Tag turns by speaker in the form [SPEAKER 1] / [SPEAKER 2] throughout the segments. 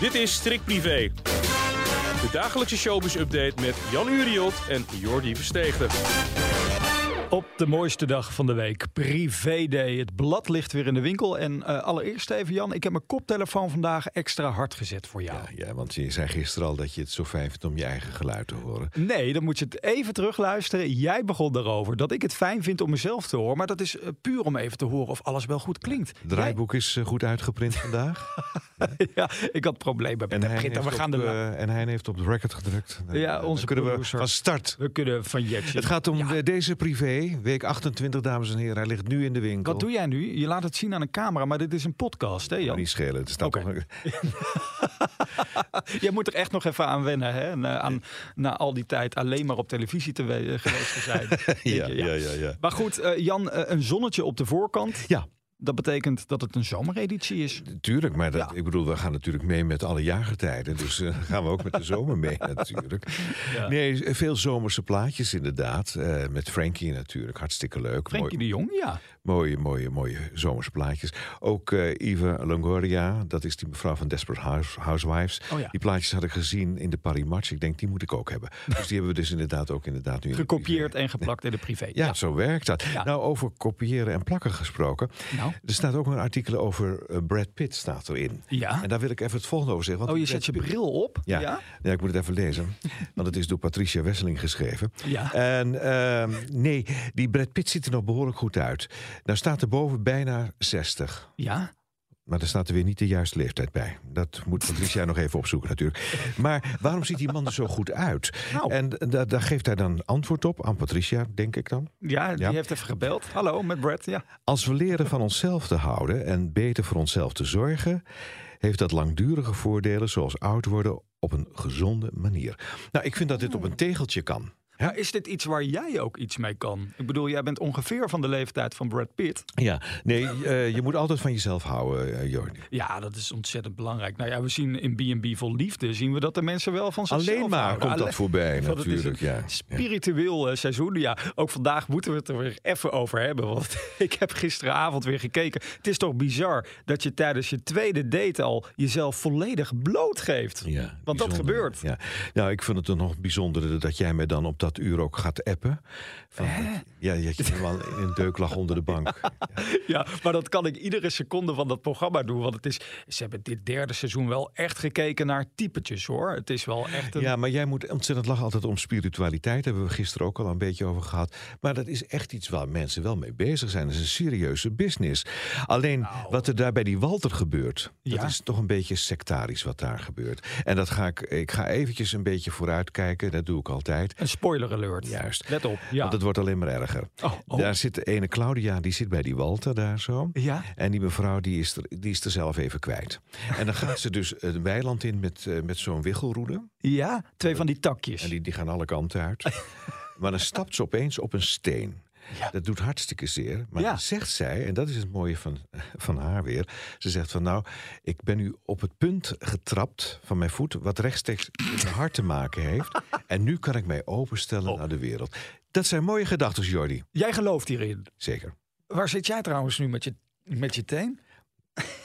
[SPEAKER 1] Dit is Strik Privé. De dagelijkse showbiz-update met Jan Uriot en Jordi Versteegde.
[SPEAKER 2] Op de mooiste dag van de week, Privé Day. Het blad ligt weer in de winkel. En eh, allereerst even, Jan, ik heb mijn koptelefoon vandaag extra hard gezet voor jou.
[SPEAKER 3] Ja, ja, want je zei gisteren al dat je het zo fijn vindt om je eigen geluid te horen.
[SPEAKER 2] Nee, dan moet je het even terugluisteren. Jij begon daarover dat ik het fijn vind om mezelf te horen. Maar dat is eh, puur om even te horen of alles wel goed klinkt.
[SPEAKER 3] Het draaiboek is eh, goed uitgeprint vandaag.
[SPEAKER 2] Jij- ja, ik had problemen met de printer. We
[SPEAKER 3] heeft
[SPEAKER 2] gaan
[SPEAKER 3] op,
[SPEAKER 2] de...
[SPEAKER 3] eh, en hij heeft op de record gedrukt. Dan,
[SPEAKER 2] Ja,
[SPEAKER 3] eh,
[SPEAKER 2] onze
[SPEAKER 3] dan kunnen
[SPEAKER 2] producer.
[SPEAKER 3] we van start.
[SPEAKER 2] We kunnen van Jetje.
[SPEAKER 3] Het gaat om eh, deze privé, week 28, dames en heren. Hij ligt nu in de winkel.
[SPEAKER 2] Wat doe jij nu? Je laat het zien aan een camera, maar dit is een podcast, hè
[SPEAKER 3] Kan
[SPEAKER 2] Jan?
[SPEAKER 3] niet schelen. Het staat
[SPEAKER 2] Oké.
[SPEAKER 3] nog-
[SPEAKER 2] Jij moet er echt nog even aan wennen, hè? En, eh, aan, na al die tijd alleen maar op televisie te we- geweest te zijn. Denk je,
[SPEAKER 3] ja, ja, ja, ja.
[SPEAKER 2] Maar goed, eh, Jan, eh, een zonnetje op de voorkant.
[SPEAKER 3] Ja,
[SPEAKER 2] Dat betekent dat het een zomereditie is.
[SPEAKER 3] natuurlijk. Maar dat,
[SPEAKER 2] Ja.
[SPEAKER 3] ik bedoel, we gaan natuurlijk mee met alle jaargetijden. Dus eh, gaan we ook met de zomer mee, natuurlijk.
[SPEAKER 2] Ja.
[SPEAKER 3] Nee, veel zomerse plaatjes, inderdaad. Eh, met Frankie natuurlijk. Hartstikke leuk.
[SPEAKER 2] Frenkie de Jong, ja.
[SPEAKER 3] Mooie, mooie, mooie zomerse plaatjes. Ook eh Eva Longoria, dat is die mevrouw van Desperate House- Housewives.
[SPEAKER 2] Oh ja.
[SPEAKER 3] Die plaatjes had ik gezien in de Paris Match. Ik denk, die moet ik ook hebben. Dus die hebben we dus inderdaad ook inderdaad nu... in de
[SPEAKER 2] Gekopieerd
[SPEAKER 3] privé.
[SPEAKER 2] en geplakt in de privé.
[SPEAKER 3] Ja, zo werkt dat.
[SPEAKER 2] Ja.
[SPEAKER 3] Nou, over kopiëren en plakken gesproken.
[SPEAKER 2] Nou.
[SPEAKER 3] Er staat ook een artikel over eh, Brad Pitt staat erin.
[SPEAKER 2] Ja.
[SPEAKER 3] En daar wil ik even het volgende over zeggen.
[SPEAKER 2] Oh,
[SPEAKER 3] want
[SPEAKER 2] je
[SPEAKER 3] Brad
[SPEAKER 2] zet je
[SPEAKER 3] Pitt-
[SPEAKER 2] bril op?
[SPEAKER 3] ja.
[SPEAKER 2] Ja.
[SPEAKER 3] Ja? ik moet het even lezen. Want het is door Patricia Wesseling geschreven.
[SPEAKER 2] Ja.
[SPEAKER 3] En ehm, nee, die Brad Pitt ziet er nog behoorlijk goed uit. Nou staat er boven bijna 60.
[SPEAKER 2] Ja.
[SPEAKER 3] Maar daar staat er weer niet de juiste leeftijd bij. Dat moet Patricia nog even opzoeken natuurlijk. Maar waarom ziet die man er zo goed uit?
[SPEAKER 2] Nou.
[SPEAKER 3] En eh, da- daar geeft hij dan antwoord op aan Patricia, denk ik dan.
[SPEAKER 2] Ja, die
[SPEAKER 3] Ja.
[SPEAKER 2] heeft even gebeld. Hallo, met Brad. Ja.
[SPEAKER 3] Als we leren van onszelf te houden en beter voor onszelf te zorgen, heeft dat langdurige voordelen zoals oud worden op een gezonde manier. Nou, ik vind dat dit op een tegeltje kan.
[SPEAKER 2] Maar is dit iets waar jij ook iets mee kan? Ik bedoel, jij bent ongeveer van de leeftijd van Brad Pitt.
[SPEAKER 3] Ja, nee, eh, je moet altijd van jezelf houden, eh, Jordi.
[SPEAKER 2] Ja, dat is ontzettend belangrijk. Nou ja, we zien in B&B vol liefde zien we dat de mensen wel van zichzelf
[SPEAKER 3] Alleen maar
[SPEAKER 2] houden.
[SPEAKER 3] komt
[SPEAKER 2] Alleen-
[SPEAKER 3] dat voorbij
[SPEAKER 2] Want het is
[SPEAKER 3] natuurlijk,
[SPEAKER 2] een
[SPEAKER 3] ja.
[SPEAKER 2] Spiritueel eh, seizoen, ja. Ook vandaag moeten we het er weer even over hebben. Want ik heb gisteravond weer gekeken. Het is toch bizar dat je tijdens je tweede date al jezelf volledig blootgeeft.
[SPEAKER 3] Ja,
[SPEAKER 2] Want dat
[SPEAKER 3] bijzonder.
[SPEAKER 2] gebeurt.
[SPEAKER 3] Ja. Nou, ik vind het dan nog bijzonder dat jij mij dan op dat uur ook gaat appen. Van, dat- ja, dat je helemaal in een deuk lag onder de bank.
[SPEAKER 2] Ja, maar dat kan ik iedere seconde van dat programma doen. Want het is, ze hebben dit derde seizoen wel echt gekeken naar typetjes hoor. Het is wel echt een...
[SPEAKER 3] Ja, maar jij moet ontzettend lachen altijd om spiritualiteit. Daar hebben we gisteren ook al een beetje over gehad. Maar dat is echt iets waar mensen wel mee bezig zijn. Dat is een serieuze business. Alleen wat er daar bij die Walter gebeurt,
[SPEAKER 2] Nou. Ja.
[SPEAKER 3] dat is toch een beetje sectarisch wat daar gebeurt. En dat ga ik, ik ga eventjes een beetje vooruitkijken. Dat doe ik altijd.
[SPEAKER 2] Een spoiler alert.
[SPEAKER 3] Juist.
[SPEAKER 2] Let op. Ja.
[SPEAKER 3] Want het wordt alleen maar erger.
[SPEAKER 2] Oh, oh.
[SPEAKER 3] Daar zit de ene Claudia, die zit bij die Walter daar zo.
[SPEAKER 2] Ja.
[SPEAKER 3] En die mevrouw, die is, er, die is er zelf even kwijt. En dan gaat ze dus het weiland in met, eh, met zo'n wiggelroede.
[SPEAKER 2] Ja, twee van die takjes.
[SPEAKER 3] En die, die gaan alle kanten uit. maar dan stapt ze opeens op een steen.
[SPEAKER 2] Ja.
[SPEAKER 3] Dat doet hartstikke zeer. Maar
[SPEAKER 2] Ja.
[SPEAKER 3] dan zegt zij, en dat is het mooie van, van haar weer. Ze zegt van nou, ik ben nu op het punt getrapt van mijn voet... wat rechtstreeks met mijn hart te maken heeft. En nu kan ik mij
[SPEAKER 2] Oh.
[SPEAKER 3] openstellen naar de wereld. Dat zijn mooie gedachten, Jordi.
[SPEAKER 2] Jij gelooft hierin.
[SPEAKER 3] Zeker.
[SPEAKER 2] Waar zit jij trouwens nu met je, met je teen?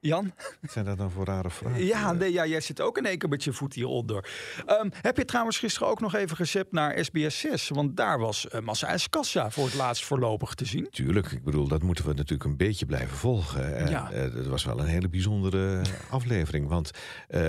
[SPEAKER 2] Jan?
[SPEAKER 3] Wat zijn dat dan voor rare vragen?
[SPEAKER 2] Ja, nee, ja, jij zit ook in één keer met je voet hieronder. Ehm heb je trouwens gisteren ook nog even gezept naar SBS6? Want daar was eh, Massa Eskassa voor het laatst voorlopig te zien.
[SPEAKER 3] Tuurlijk, ik bedoel, dat moeten we natuurlijk een beetje blijven volgen. En,
[SPEAKER 2] Ja.
[SPEAKER 3] eh, dat was wel een hele bijzondere aflevering. Want, eh,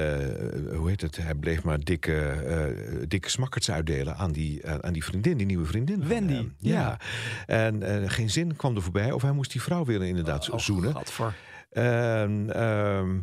[SPEAKER 3] hoe heet het, hij bleef maar dikke, eh, dikke smakkerts uitdelen aan die, eh, aan die vriendin, die nieuwe vriendin. van
[SPEAKER 2] Wendy,
[SPEAKER 3] hem. Ja. En eh, geen zin kwam er voorbij. Of hij moest die vrouw weer inderdaad
[SPEAKER 2] Oh,
[SPEAKER 3] zoenen.
[SPEAKER 2] Gadver.
[SPEAKER 3] En, ehm,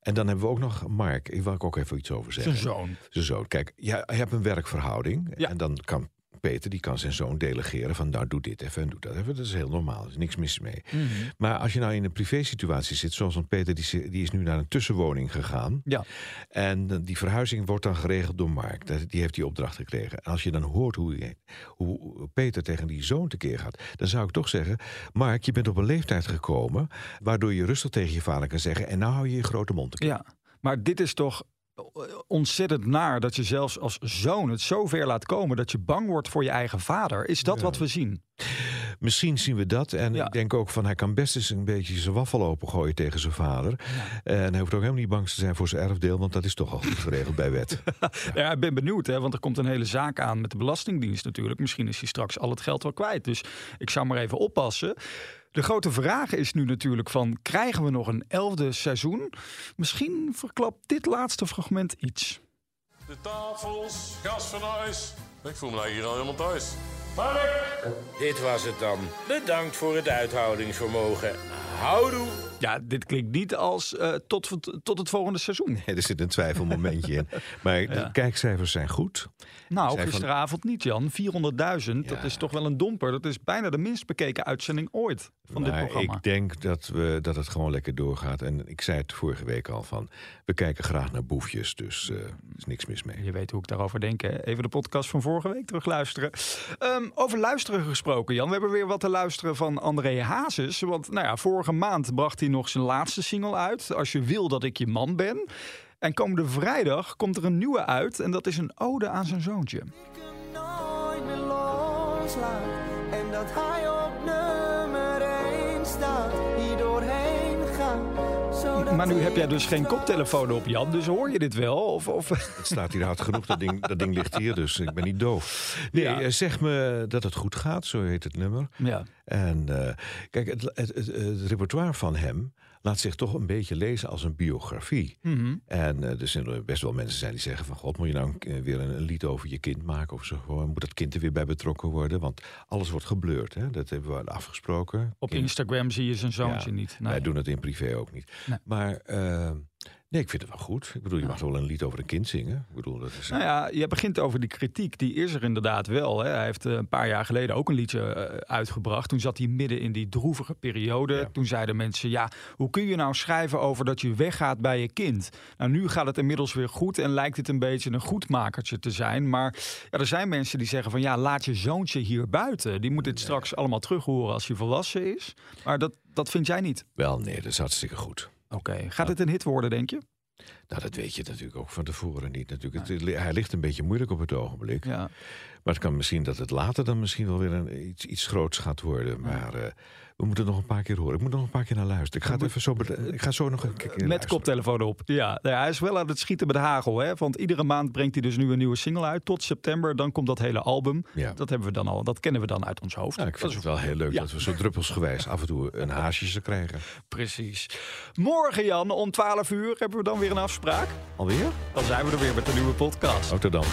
[SPEAKER 3] en dan hebben we ook nog Mark. Hier wil ik ook even iets over zeggen.
[SPEAKER 2] Zijn zoon.
[SPEAKER 3] Zijn zoon. Kijk, ja, je hebt een werkverhouding.
[SPEAKER 2] Ja.
[SPEAKER 3] En dan kan Peter, die kan zijn zoon delegeren van... nou, doe dit even en doe dat even. Dat is heel normaal. Er is niks mis mee.
[SPEAKER 2] Mhm.
[SPEAKER 3] Maar als je nou in een privésituatie zit... zoals want Peter, die, zi- die is nu naar een tussenwoning gegaan.
[SPEAKER 2] Ja.
[SPEAKER 3] En eh, die verhuizing wordt dan geregeld door Mark. Dat- Die heeft die opdracht gekregen. En als je dan hoort hoe, je- hoe Peter tegen die zoon tekeer gaat... dan zou ik toch zeggen... Mark, je bent op een leeftijd gekomen... waardoor je rustig tegen je vader kan zeggen... en nou hou je je grote mond.
[SPEAKER 2] ja, maar dit is toch eh, ontzettend naar dat je zelfs als zoon het zo ver laat komen dat je bang wordt voor je eigen vader. Is dat wat we zien?
[SPEAKER 3] misschien zien we dat. En
[SPEAKER 2] Ja.
[SPEAKER 3] ik denk ook van hij kan best eens een beetje zijn waffel opengooien tegen zijn vader. En hij hoeft ook helemaal niet bang te zijn voor zijn erfdeel, want dat is toch al goed geregeld bij wet.
[SPEAKER 2] Ja, ik ben benieuwd, hè, want er komt een hele zaak aan met de Belastingdienst natuurlijk. Misschien is hij straks al het geld wel kwijt. Dus ik zou maar even oppassen. De grote vraag is nu natuurlijk van, krijgen we nog een elfde seizoen? Misschien verklapt dit laatste fragment iets.
[SPEAKER 4] De tafels, gas van huis. Ik voel me nou hier al helemaal thuis. Mark!
[SPEAKER 5] Dit was het dan. Bedankt voor het uithoudingsvermogen. Houdoe.
[SPEAKER 2] Ja, dit klinkt niet als eh, tot, tot het volgende seizoen.
[SPEAKER 3] er zit een twijfelmomentje in. Maar de kijkcijfers zijn goed.
[SPEAKER 2] Nou,
[SPEAKER 3] Zij van-
[SPEAKER 2] gisteravond niet, Jan. 400.000, dat is toch wel een domper. Dat is bijna de minst bekeken uitzending ooit van dit
[SPEAKER 3] maar
[SPEAKER 2] programma.
[SPEAKER 3] Nou, ik denk dat, we, dat het gewoon lekker doorgaat. En ik zei het vorige week al van, we kijken graag naar boefjes, dus eh, er is niks mis mee.
[SPEAKER 2] Je weet hoe ik daarover denk. Hè? Even de podcast van vorige week terugluisteren. Ehm over luisteren gesproken, Jan. We hebben weer wat te luisteren van André Hazes. Want nou ja, vorige maand bracht hij nog zijn laatste single uit. Als je wil dat ik je man ben. En komende vrijdag komt er een nieuwe uit. En dat is een ode aan zijn zoontje.
[SPEAKER 6] ik hem nooit meer loslaat. En dat hij op nummer 1 staat, hier doorheen gaat. Zodat
[SPEAKER 2] Maar nu heb jij
[SPEAKER 6] ik
[SPEAKER 2] dus geen
[SPEAKER 6] nooit
[SPEAKER 2] koptelefoon op, Jan. Dus hoor je dit wel? Of, of...
[SPEAKER 3] Het staat hier hard genoeg, dat ding, dat ding ligt hier, dus ik ben niet doof. Nee,
[SPEAKER 2] Ja.
[SPEAKER 3] eh, zeg me dat het goed gaat, zo heet het nummer.
[SPEAKER 2] Ja.
[SPEAKER 3] En eh, kijk, het, het, het- het repertoire van hem laat zich toch een beetje lezen als een biografie.
[SPEAKER 2] Mhm.
[SPEAKER 3] En eh, er zijn best wel mensen zijn die zeggen van... God, moet je nou een- eh, weer een, een lied over je kind maken of zo? Gewoon, Moet dat kind er weer bij betrokken worden? Want alles wordt geblurred, hè? Dat hebben we afgesproken.
[SPEAKER 2] Op
[SPEAKER 3] Kinderen-
[SPEAKER 2] Instagram zie je zijn zoontje
[SPEAKER 3] Ja,
[SPEAKER 2] niet. Nou,
[SPEAKER 3] wij
[SPEAKER 2] Nee.
[SPEAKER 3] doen het in privé ook niet.
[SPEAKER 2] Nee.
[SPEAKER 3] Maar eh, nee, ik vind het wel goed. Ik bedoel, je mag wel een lied over een kind zingen. Ik bedoel, dat is...
[SPEAKER 2] Nou ja, je begint over die kritiek. Die is er inderdaad wel. Hè. Hij heeft eh, een paar jaar geleden ook een liedje eh, uitgebracht. Toen zat hij midden in die droevige periode. Toen zeiden mensen, ja, hoe kun je nou schrijven over dat je weggaat bij je kind? Nou, nu gaat het inmiddels weer goed en lijkt het een beetje een goedmakertje te zijn. Maar ja, er zijn mensen die zeggen van, ja, laat je zoontje hier buiten. Die moet dit straks allemaal terughoren als hij volwassen is. Maar dat, dat vind jij niet.
[SPEAKER 3] Wel, nee, dat is hartstikke goed.
[SPEAKER 2] Oké. Gaat dit een hit worden, denk je?
[SPEAKER 3] Nou, dat weet je natuurlijk ook van tevoren niet. Natuurlijk. Het- hij ligt een beetje moeilijk op het ogenblik.
[SPEAKER 2] Ja.
[SPEAKER 3] Maar het kan misschien dat het later dan misschien wel weer een, iets, iets groots gaat worden. Maar eh, we moeten nog een paar keer horen. Ik moet nog een paar keer naar luisteren. Ik ga, het even zo, bed- ik ga zo nog een keer
[SPEAKER 2] Met
[SPEAKER 3] luisteren.
[SPEAKER 2] koptelefoon op. Ja, nou ja, hij is wel aan het schieten met hagel. Hè? Want iedere maand brengt hij dus nu een nieuwe single uit. Tot september, dan komt dat hele album.
[SPEAKER 3] Ja.
[SPEAKER 2] Dat hebben we dan al. Dat kennen we dan uit ons hoofd.
[SPEAKER 3] Nou, ik vind het wel heel leuk
[SPEAKER 2] Ja.
[SPEAKER 3] dat we zo druppelsgewijs af en toe een haasje krijgen.
[SPEAKER 2] precies. Morgen, Jan, om 12 uur hebben we dan weer een afspraak.
[SPEAKER 3] Alweer?
[SPEAKER 2] Dan zijn we er weer met de nieuwe podcast.
[SPEAKER 3] Rotterdam.